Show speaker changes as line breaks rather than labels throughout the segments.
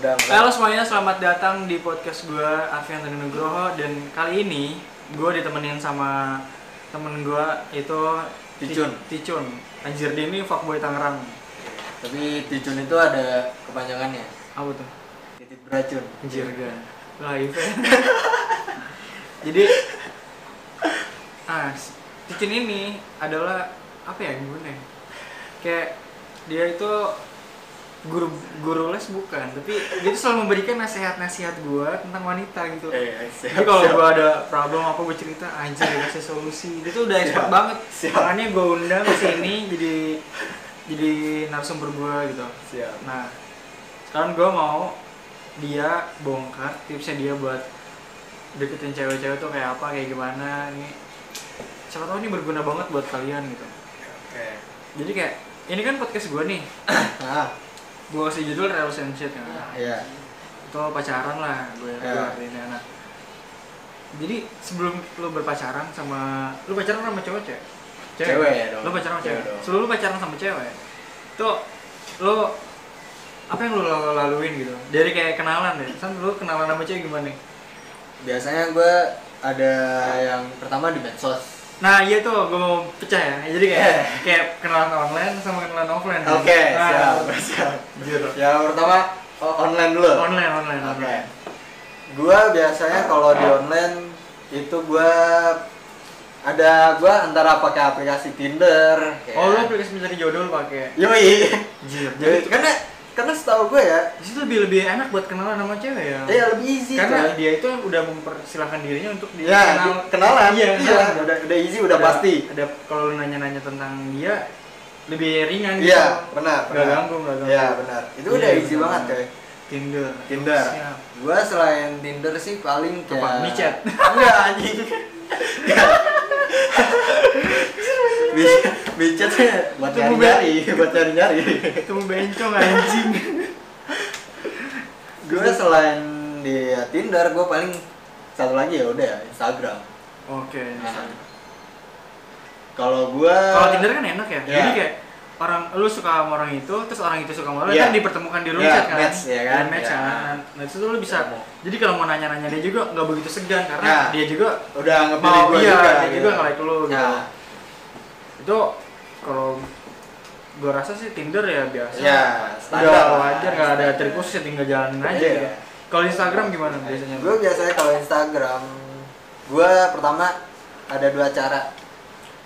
Udah enggak.
Halo semuanya, selamat datang di podcast gue Arfian Tani Nugroho dan kali ini gue ditemenin sama temen gue itu
Ticun.
Ti- Ticun. Anjir dia ini fuckboy Tangerang.
Tapi Ticun itu ada kepanjangannya.
Apa tuh?
Titik beracun. Iya.
Anjir gue. Live. Jadi ah, si Ticun ini adalah apa ya gimana? ya? Kayak dia itu guru guru les bukan, tapi dia tuh selalu memberikan nasihat-nasihat gue tentang wanita gitu.
Eh,
Jadi kalau gua ada problem apa gue cerita anjir dikasih solusi. Dia tuh udah expert
Siap.
banget.
Siap.
Makanya gue undang ke sini jadi jadi narasumber gua gitu.
siap.
Nah, sekarang gua mau dia bongkar tipsnya dia buat deketin cewek-cewek tuh kayak apa, kayak gimana nih. Siapa tahu ini berguna banget buat kalian gitu.
Oke.
Jadi kayak ini kan podcast gua nih. Ah.
Nah,
Gua kasih judul relationship kan
ya.
itu pacaran lah gue
Ya.
yeah. artinya nah jadi sebelum lo berpacaran sama lo pacaran sama cowok cewek
Cewek dong.
lo pacaran sama cewek
Cewek dong.
sebelum lo pacaran sama cewek itu lo apa yang lo lalu- laluin gitu dari kayak kenalan deh kan lo kenalan sama cewek gimana nih
Biasanya gue ada yang pertama di medsos.
nah iya tuh gue mau pecah ya jadi kayak
Yeah.
kayak kenalan online sama kenalan offline
Iya. Oke,
Nah,
siap, siap.
jujur.
Yang pertama o- online dulu.
online online
Oke.
online
Gua biasanya kalau di online itu gua ada gua antara pakai aplikasi Tinder. kayak-
oh lo aplikasi mencari jodoh lo pakai
Yoi.
jir
Jadi karena karena setahu gue ya,
Itu lebih lebih enak buat kenalan sama cewek ya.
ya lebih easy
Karena
coy.
dia itu udah mempersilahkan dirinya untuk dia
ya di- kenalan.
Iya, kenalan.
udah udah easy udah
Ada-
pasti.
Ada kalau lu nanya-nanya tentang dia lebih ringan gitu.
Iya, benar,
Gak
benar.
ganggu, gak ganggu.
Iya, benar. Itu
Iya,
udah easy
benar.
banget coy.
Tinder.
Tinder.
Siap.
Gua selain Tinder sih paling kayak
Apa? Micet?
Enggak anjing. Mi- Micet sih buat
Itu
nyari nyari, buat nyari nyari.
Itu bencong anjing.
Gue selain di Tinder, gue paling satu lagi ya udah ya Instagram.
Oke.
Kalau gue
Kalau Tinder kan enak ya.
Iya.
Jadi kayak orang lu suka sama orang itu, terus orang itu suka sama lu,
Iya.
kan dipertemukan di room
Iya,
chat kan.
match, iya kan?
Di match
Iya.
kan. Nah, itu lu bisa.
Iya.
Jadi kalau mau nanya-nanya dia juga nggak begitu segan karena
Nah.
dia juga
udah ngepilih
mau
gue
iya
juga.
dia juga nge-like lu gitu
Nah,
itu kalau gue rasa sih Tinder ya biasa
Ya, standar
udah
lah.
wajar nggak ada
Standar.
trik khusus ya tinggal jalanin aja
Iya.
gitu. kalau Instagram gimana biasanya
Gue biasanya kalau Instagram, gue pertama ada dua cara.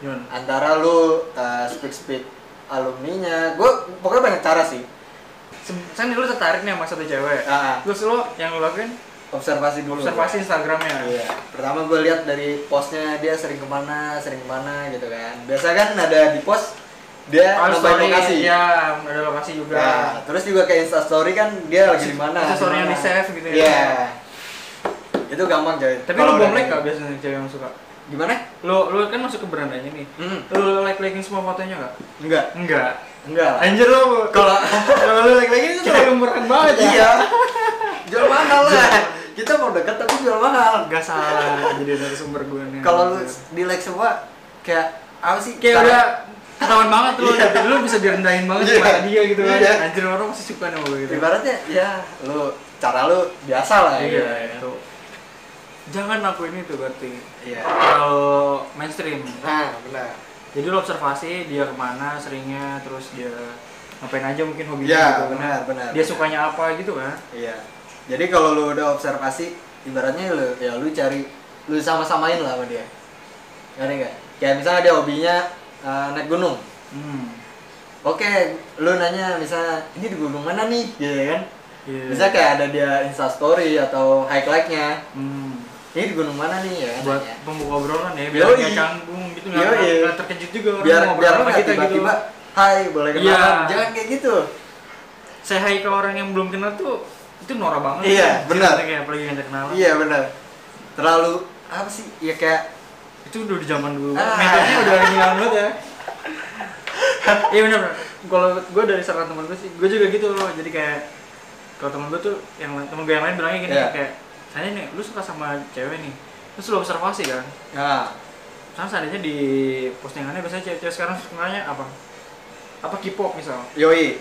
gimana
Antara lu uh, speak speak alumninya, gue pokoknya banyak cara sih.
misalnya lu tertarik nih sama satu cewek
Ah,
terus lu yang lu lakuin
observasi dulu.
observasi Instagramnya
Iya. Pertama gue lihat dari postnya dia sering kemana, sering kemana gitu kan. Biasa kan ada di post dia
Oh,
nambahin
story,
lokasi.
ya ada lokasi juga
Nah, terus juga kayak Insta Story kan dia lagi di mana?
Instastory
di
yang
mana.
di-save gitu ya.
Iya. Itu gampang coy.
tapi
Kalau
lu
udah
bom like
kayak
gak biasanya cewek yang suka
gitu. Gimana?
lu lu kan masuk ke berandanya nih
Hmm.
lu like liking semua fotonya gak
Enggak.
enggak
Enggak.
anjir lu
Kalau
kalau lu like liking itu terlalu murah banget ya
iya. Jual mahal lah. Kita mau dekat tapi jual mahal.
Gak salah jadi narasumber gue nih.
Kalau lu di like semua kayak apa sih?
Iya. kayak
Cara-
udah ketahuan banget lu,
Iya.
tapi lu bisa direndahin banget
Iya.
sama dia gitu kan.
Iya.
Anjir orang masih suka sama lu gitu.
ibaratnya ya lu cara lu biasa lah
Iya,
gitu.
itu. Jangan lakuin itu berarti.
Iya.
Kalau mainstream.
Nah, benar.
Jadi lu observasi dia kemana seringnya, terus dia ngapain aja mungkin hobinya
Iya,
gitu kan.
benar, benar,
Dia
benar.
sukanya apa gitu kan.
Iya. Jadi kalau lu udah observasi, ibaratnya lu ya lu cari lu sama-samain lah sama dia. Ngerti nggak? Kayak misalnya dia hobinya eh, naik gunung.
Hmm.
Oke, lu nanya misalnya ini di gunung mana nih? Gitu kan?
Iya.
Bisa kayak ada dia Insta story atau high like-nya.
Hmm.
Ini di gunung mana nih ya?
buat
nanya.
pembuka obrolan ya biar
Yoi.
nggak canggung gitu nggak
Yoi.
nggak terkejut juga orang
biar
ngobrol
biar lu
sama
nggak
kita gitu
tiba-tiba Hai, boleh
Iya.
kenalan. Jangan kayak gitu.
saya hai ke orang yang belum kenal tuh itu norak banget
Iya,
Jadi
benar.
kayak apalagi yang kenal
Iya benar. Terlalu apa sih? Ya kayak
itu udah di zaman dulu
Ah.
metodenya udah hilang banget ya iya benar benar. kalau gue dari saran temen gue sih gue juga gitu loh jadi kayak kalau temen gue tuh yang temen gue yang lain bilangnya gini
Iya.
kayak tanya nih lu suka sama cewek nih terus lu observasi kan
nah,
karena seandainya di postingannya biasanya cewek-cewek sekarang sukanya apa apa K-pop misal
yoi.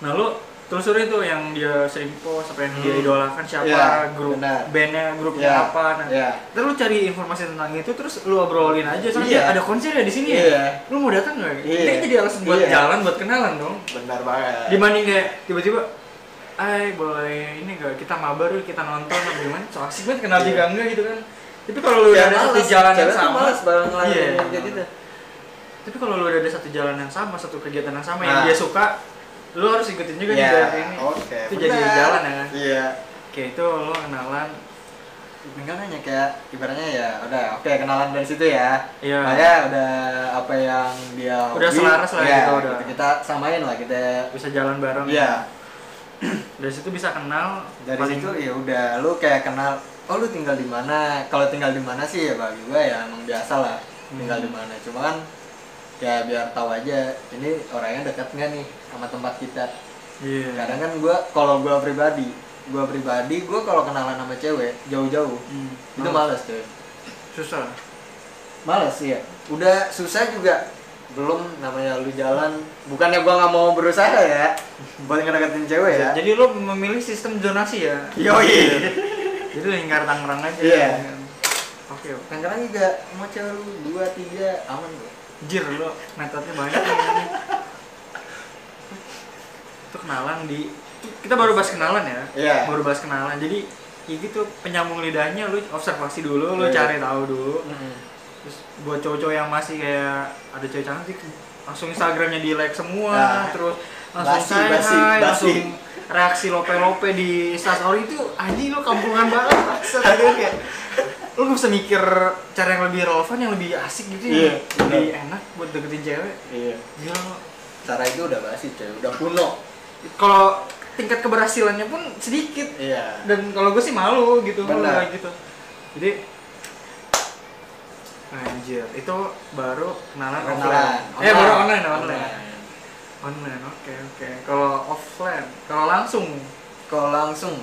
Nah lu telusuri tuh yang dia sering post apa yang dia
Hmm.
idolakan siapa
Iya,
grup
benar.
bandnya grupnya
Iya,
apa nah
iya.
terus lu cari informasi tentang itu terus lu obrolin aja soalnya
Iya.
ada konser ya di sini
Iya.
ya lu mau datang nggak
Iya.
Ini jadi alasan buat
Iya.
jalan buat kenalan dong
benar banget
dibanding kayak tiba-tiba ay boleh ini gak kita mabar yuk kita nonton apa gimana so asik banget kenal
Iya.
juga enggak gitu kan tapi kalau lu
Ya,
udah ada satu
males.
jalan yang
Cewek tuh
sama
males barang lain
Iya,
kayak gitu
tapi kalau lu udah ada satu jalan yang sama satu kegiatan yang sama yang
Nah.
dia suka lu harus ikutin juga
Iya,
nih jalan ini
oke
itu jadi
benar.
jalan ya kan
iya
kayak itu lu kenalan
tinggal nanya kayak ibaratnya ya udah oke kenalan dari situ ya
Iya.
Makanya udah apa yang dia
Udah
hobi,
selaras lah
ya,
gitu, udah.
kita samain lah kita
bisa jalan bareng
iya
dari situ bisa kenal
dari
paling-
situ ya udah lu kayak kenal oh lu tinggal di mana kalau tinggal di mana sih ya bagi gue ya emang biasa lah tinggal
Hmm.
di mana cuma kan ya biar tahu aja ini orangnya dekat nggak nih sama tempat kita
iya
kadang kan gue kalau gue pribadi gue pribadi gue kalau kenalan sama cewek jauh-jauh
Hmm.
itu males tuh
susah
males ya
iya.
udah susah juga belum namanya lu jalan bukannya gua nggak mau berusaha ya buat ngedeketin cewek ya
jadi lu memilih sistem zonasi ya
yoi
jadi lingkar Tangerang aja
Iya.
oke oke.
kadang-kadang juga mau cewek lu dua tiga aman gua
jir lu metodenya banyak nih. itu kenalan di kita baru bahas kenalan ya
Iya.
baru bahas kenalan jadi ya gitu penyambung lidahnya lu observasi dulu lu
Iya.
cari tahu dulu terus buat cowok-cowok yang masih kayak ada cewek cantik langsung instagramnya di like semua
Nah.
terus langsung
Basi,
say
basi,
hi,
basi.
langsung reaksi lope-lope di instastory itu anjing lu kampungan banget maksud gue kayak lu gak bisa mikir cara yang lebih relevan yang lebih asik gitu
Iya,
ya lebih enak buat deketin cewek
iya
gila lu.
cara itu udah basi cewek udah kuno
kalau tingkat keberhasilannya pun sedikit
iya
dan kalau gue sih malu gitu malu
Benar.
kayak gitu jadi anjir itu baru kenalan offline
Nah, kenalan
eh baru online online
Online.
online oke oke kalau offline kalau langsung
kalau langsung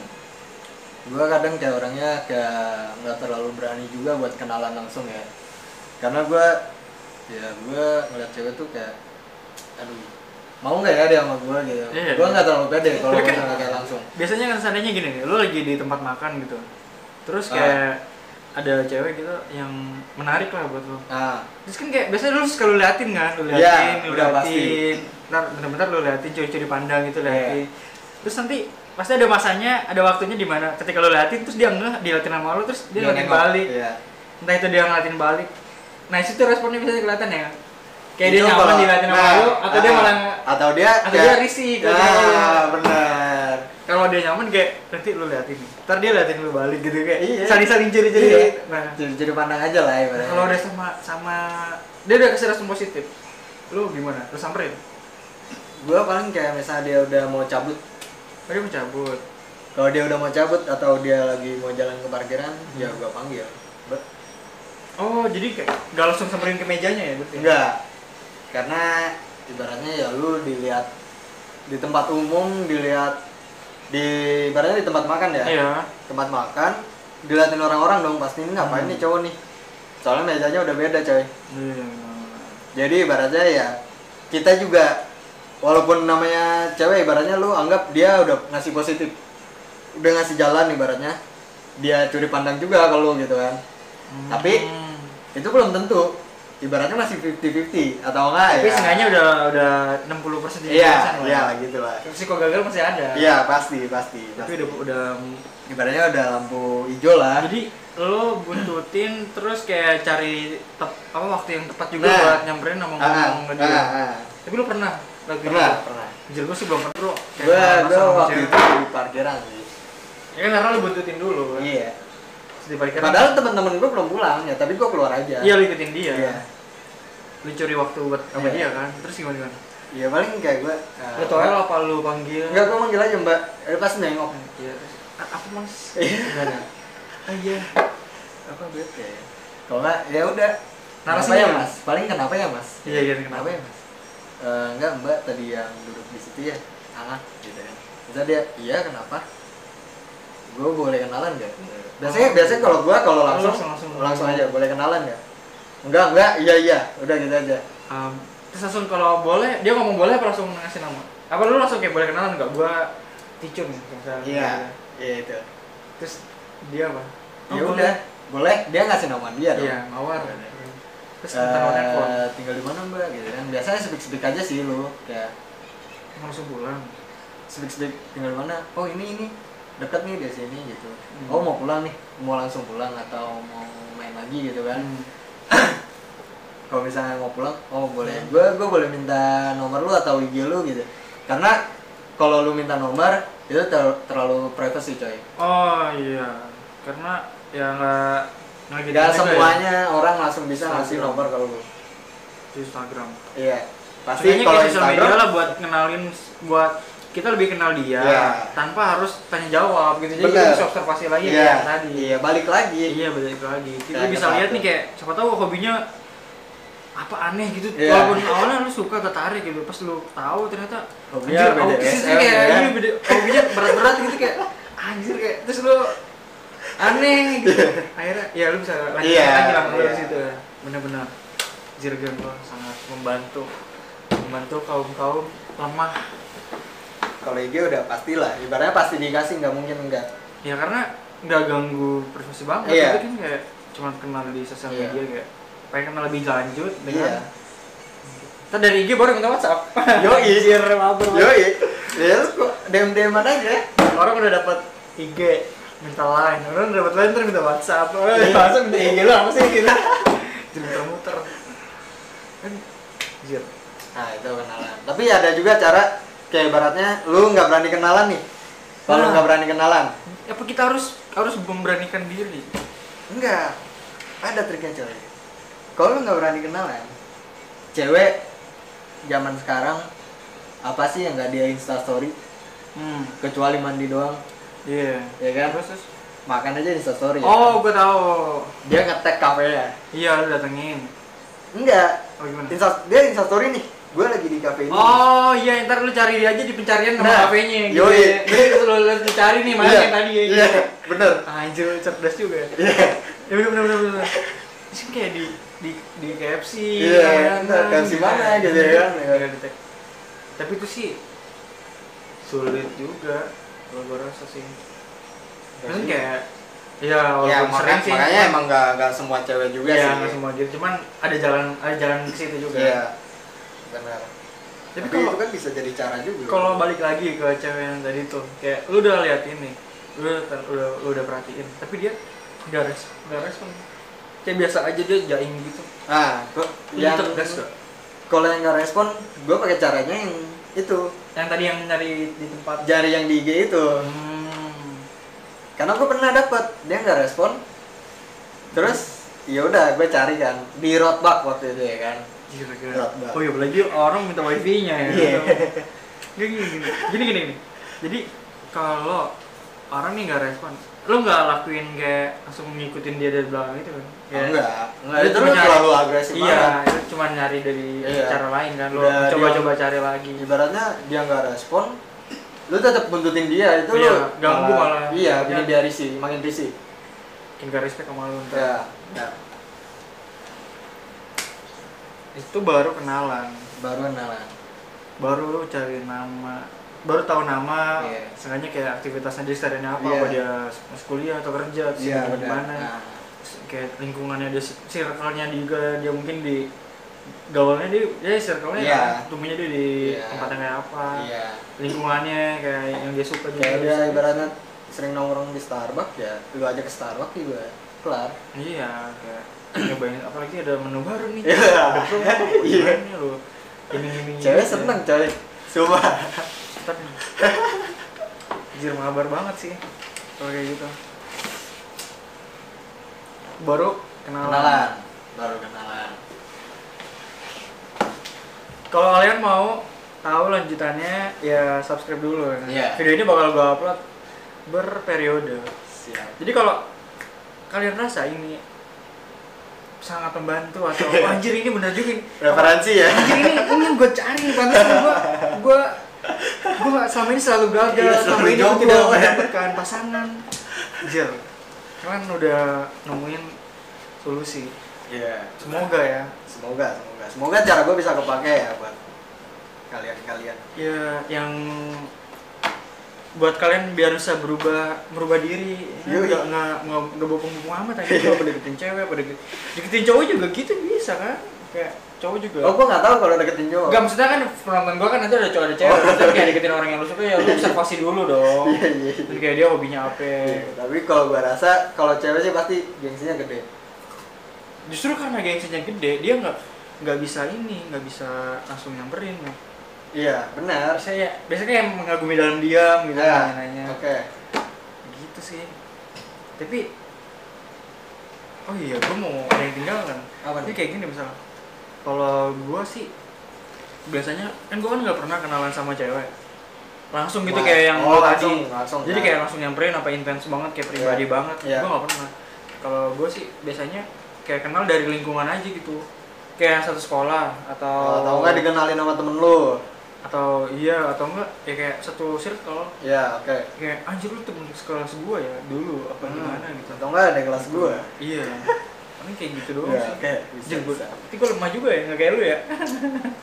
gua kadang kayak orangnya kayak nggak terlalu berani juga buat kenalan langsung ya karena gua ya gua ngeliat cewek tuh kayak aduh mau nggak ya dia sama gua gitu
Iya.
gua nggak terlalu pede kalau
Tapi kan-
misalnya kayak langsung
biasanya kan seandainya gini nih lu lagi di tempat makan gitu terus kayak ada cewek gitu yang menarik lah buat lu
ah
terus kan kayak biasanya lu suka lu liatin kan lu
Iya,
liatin lu
udah pasti.
liatin ntar bentar-bentar lu liatin curi-curi pandang
Iya.
gitu liatin terus nanti pasti ada masanya ada waktunya di mana ketika lu liatin terus dia ngeh dia liatin sama lu terus dia, ngeliatin
nengok.
balik
Iya.
entah itu dia ngeliatin balik nah itu responnya bisa kelihatan ya kayak dia
Itu
nyaman
kalau-
diliatin sama
nah,
lu atau dia
ah,
malah
atau dia
atau dia risih, gitu
ya,
kalau dia-
benar
kalau dia nyaman kayak nanti lu liatin ntar dia liatin lu balik gitu kayak
Iya.
saling-saling curi-curi
Iya.
nah
jadi jadi pandang aja lah
Nah,
ibaratnya.
kalau udah sama sama dia udah kasih respon positif lu gimana lu samperin
gua paling kayak misalnya dia udah mau cabut
Oh, dia mencabut
kalau dia udah mau cabut atau dia lagi mau jalan ke parkiran
Hmm.
ya gua panggil Bet.
Oh, jadi kayak gak langsung samperin ke mejanya ya berarti?
enggak karena ibaratnya ya lu dilihat di tempat umum dilihat di ibaratnya di tempat makan ya
Iya.
tempat makan diliatin orang-orang dong pasti ini ngapain
Hmm.
nih cowok nih soalnya mejanya udah beda coy
Iya.
jadi ibaratnya ya kita juga walaupun namanya cewek ibaratnya lu anggap dia udah ngasih positif udah ngasih jalan ibaratnya dia curi pandang juga kalau gitu kan Tapi-
Hmm.
itu belum tentu ibaratnya masih 50-50 atau enggak
tapi
ya
seenggaknya udah udah 60 persen ya.
iya iya gitu lah
Risiko gagal masih ada.
iya pasti pasti,
Tapi
pasti.
udah udah
ibaratnya udah lampu hijau lah
jadi lo buntutin terus kayak cari tep, apa waktu yang tepat juga
Nah.
buat nyamperin ngomong-ngomong ya. ke
Ah,
dia.
ah, ah.
Tapi lo pernah lagi
pernah pernah
Jil gue sih belum pernah bro. Kayak
gue
kenalan
gue
sama
waktu
cewek.
itu di parkiran sih
Ya kan karena lo buntutin dulu kan.
iya
Terus dibalikin.
padahal teman-teman gue belum pulang ya tapi gue keluar aja
Iya lo ikutin dia.
Iya.
Lo curi waktu buat
Iya.
sama
ya.
dia kan. Terus gimana gimana?
Iya, paling kayak eh, gue
Lu toel apa lu panggil?
enggak gue manggil aja mbak eh, pas nengok
Iya. A- Apa mas?
Iya.
Gimana?
Eh.
Ah iya.
apa bete Iya. kalau nggak ya udah kenapa
Narasinya
ya
apa?
mas paling kenapa ya mas
Iya, iya, kenapa?
ya mas Eh, enggak mbak tadi yang duduk di situ ya anak gitu kan bisa dia iya kenapa gue boleh kenalan gak biasanya
Oh.
biasanya kalau gue kalau langsung
Langsung,
langsung,
langsung.
aja boleh kenalan gak enggak enggak iya iya udah gitu aja
Um, terus langsung kalau boleh, dia ngomong boleh apa langsung ngasih nama? apa lu langsung kayak boleh kenalan nggak gua ticun ya, misalnya
Iya, iya itu.
terus dia apa Oh,
Ya
boleh.
udah, boleh. Dia ngasih nomor dia dong.
iya mawar
Boleh.
terus
Eh,
minta nomor telepon
tinggal di mana mbak gitu kan biasanya speak speak aja sih lu kayak
mau langsung pulang
speak speak tinggal di mana oh ini ini dekat nih dari sini gitu
Hmm.
oh mau pulang nih mau langsung pulang atau mau main lagi gitu kan
Hmm.
kalau misalnya mau pulang oh boleh
Hmm.
gue gue boleh minta nomor lu atau IG lu gitu karena kalau lu minta nomor itu ter- terlalu privacy coy
oh iya karena ya nggak nggak gitu
tidak
juga ya
semuanya orang langsung bisa
Instagram.
ngasih nomor kalau lu
di Instagram
iya pasti
Pasti
kalau
sosial media
Instagram
lah buat kenalin buat kita lebih kenal dia
Iya.
tanpa harus tanya jawab gitu jadi
Bener.
kita bisa observasi lagi
iya
kayak tadi
iya balik lagi
iya balik lagi kita
Kayak
bisa
satu.
lihat nih kayak siapa tahu hobinya apa aneh gitu
Iya.
walaupun awalnya lu suka ketarik gitu pas lu tahu ternyata
Hobinya
anjir,
BDSM
autis sih
ya
kayak
kan?
iya, beda- hobinya berat-berat gitu kayak anjir kayak terus lu aneh gitu akhirnya ya lu bisa lanjut
Iya,
lagi lah kalau
iya.
di situ benar-benar jirgen lo sangat membantu membantu kaum kaum lemah
kalau IG udah pastilah ibaratnya pasti dikasih nggak mungkin enggak
ya karena nggak ganggu privasi banget
Iya.
tapi kan kayak cuma kenal di sosial
Iya.
media kayak pengen kenal lebih lanjut dengan
iya
Ntar dari IG baru minta WhatsApp.
yo iya
mabar.
yo iya kok dem deman aja ya?
Orang udah dapat IG, minta line. Orang udah dapat line terus minta WhatsApp.
Iya, langsung di IG lu apa sih gitu
Jadi muter-muter. Kan anjir.
Nah itu kenalan. Tapi ada juga cara kayak ibaratnya lu nggak berani kenalan nih. Kalau lu
Nah.
nggak berani kenalan,
Apa kita harus harus memberanikan diri?
enggak. Ada triknya coy. Kalau lu nggak berani kenalan, cewek zaman sekarang apa sih yang nggak dia instastory
Hmm.
kecuali mandi doang
Iya.
ya kan
Terus, terus.
makan aja instastory ya.
Oh, gua tahu.
dia ngetek kafe ya
Iya, lu datengin.
enggak
Oh, gimana?
Insta- dia instastory nih gue lagi di kafe ini
Oh iya, ntar lu cari dia aja di pencarian sama
Nah,
HP-nya gitu.
yoi.
ya. Terus lu lu cari nih mana
Iya,
yang tadi ya.
iya bener
Anjir, cerdas juga ya.
Iya.
ya bener bener bener bener sih kayak di di di KFC
Iya, bener. KFC mana gitu ya kan?
gitu kan. Iya, di tek- tapi itu sih sulit juga kalau gue rasa sih kan kayak ya
ya
walaupun sering
maka-
sih
makanya emang nggak nggak semua cewek juga
ya
sih
nggak semua gitu cuman ada jalan ada jalan ke situ juga
Iya, benar
tapi
tapi,
kalau
itu kan bisa jadi cara juga
kalau balik lagi ke cewek yang tadi tuh kayak lu udah lihat ini lu udah udah, lu udah perhatiin tapi dia nggak respon nggak respon kayak biasa aja dia jaim gitu
ah kok
Lu
yang
cerdas gak?
kalau yang nggak respon gue pakai caranya yang itu
yang tadi yang nyari di tempat
jari yang di IG itu
Hmm,
karena gue pernah dapet dia nggak respon terus ya udah gue cari kan di roadblock waktu itu ya kan
Gila,
Berat banget.
oh iya lagi orang minta wifi nya ya
Iya.
gini gini gini gini gini, gini. jadi kalau orang nih nggak respon lo nggak lakuin kayak langsung ngikutin dia dari belakang gitu kan
Ah, enggak enggak
Lu
itu
cuma
lu
nyari-
terlalu agresif
iya
banget
itu cuma nyari dari
Iya.
cara lain kan lo
Udah, dia-
coba-coba cari lagi
ibaratnya dia nggak respon lu tetap buntutin dia itu
Iya,
lu
ganggu malah.
iya
Iya.
bikin dia risih makin risih
enggak respect sama lo ntar
ya, ya.
itu baru kenalan
baru kenalan
baru lu cari nama baru tahu nama
Iya.
sengaja kayak aktivitasnya dia sehariannya apa
Iya.
apa dia masuk kuliah atau kerja terus
Iya,
dia
benar.
gimana
Nah,
Terus kayak lingkungannya dia circle-nya juga dia mungkin di gaulnya dia dia circle-nya
Iya.
kan, tumbuhnya dia di
Iya.
tempat yang kayak apa
Iya.
lingkungannya kayak yang dia suka juga
Kayak dia ibaratnya sering nongkrong di Starbucks ya, lu aja ke Starbucks juga kelar.
iya kayak nyobain apalagi ada menu baru nih
Iya.
ada promo
Iya.
gimana lo ini ini
Cewek seneng coy. Coba.
Jir mabar banget sih kalau kayak gitu. Baru kenalan.
Kenalan, baru kenalan.
Kalau kalian mau tahu lanjutannya ya subscribe dulu ya.
Iya.
Video ini bakal gua upload berperiode.
Siap.
Jadi kalau kalian rasa ini sangat membantu atau "Oh, anjir ini bener juga ini.
Referensi ya.
Anjir ini ini gue cari pantesan gue gue gue selama ini selalu gagal
Iya,
selama
selalu
ini gue
jomblo.
tidak mendapatkan pasangan Jir kalian udah nemuin solusi
Iya.
semoga ya
Semoga, semoga. Semoga cara gue bisa kepake ya buat kalian-kalian
ya yang buat kalian biar bisa berubah berubah diri ya,
Yoi.
nggak nggak nggak nggak bopong-bopong amat aja kalau pada deketin cewek pada deket- deketin cowok juga gitu bisa kan kayak cowok juga
oh gua nggak tahu kalau deketin cowok
Enggak maksudnya kan penonton gua kan nanti ada cowok ada cewek, terus kayak deketin orang yang lu suka ya lu observasi dulu dong.
Oh. Iya, iya, iya.
Terus kayak dia hobinya apa.
Iya, tapi kalau gua rasa kalau cewek sih pasti gengsinya gede
Justru karena gengsinya gede, dia nggak nggak bisa ini, nggak bisa langsung nyamperin.
iya benar
Biasanya ya, biasanya yang mengagumi dalam diam gitu
Nah,
nanya-nanya.
oke
Gitu sih. Tapi Oh iya, gua mau ada yang tinggal kan.
Apa
Tapi
nih?
kayak gini misalnya. Kalau gua sih biasanya kan gua kan nggak pernah kenalan sama cewek. Langsung gitu
Wah,
kayak yang
oh,
lu
langsung,
tadi.
langsung kan.
Jadi kayak langsung nyamperin apa intens banget kayak pribadi
Iya.
banget.
Iya.
Gua nggak pernah. Kalau gua sih biasanya kayak kenal dari lingkungan aja gitu. Kayak satu sekolah atau
Oh, atau nggak dikenalin sama temen lu
atau iya atau enggak ya kayak satu circle
ya oke
kayak anjir lu temen sekolah gua ya dulu apa
Hmm.
gimana gitu
atau nggak ada kelas gua
iya paling kayak gitu doang
Ya,
sih
oke, bisa,
Anjir, gua-
bisa.
tapi gua lemah juga ya nggak kayak lu ya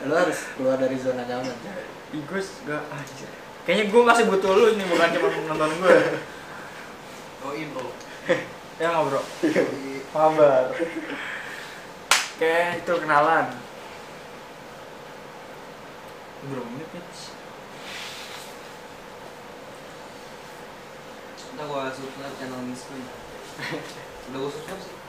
lu harus keluar dari zona nyaman Cewek.
Ih, gua nggak anjir kayaknya gua masih butuh lu ini bukan cuma nonton gua
Doi bro.
ya nggak bro
Doi.
kabar kayak itu kenalan bro menit nih
Ntar gua subscribe channel Miss Queen. Udah gua subscribe sih.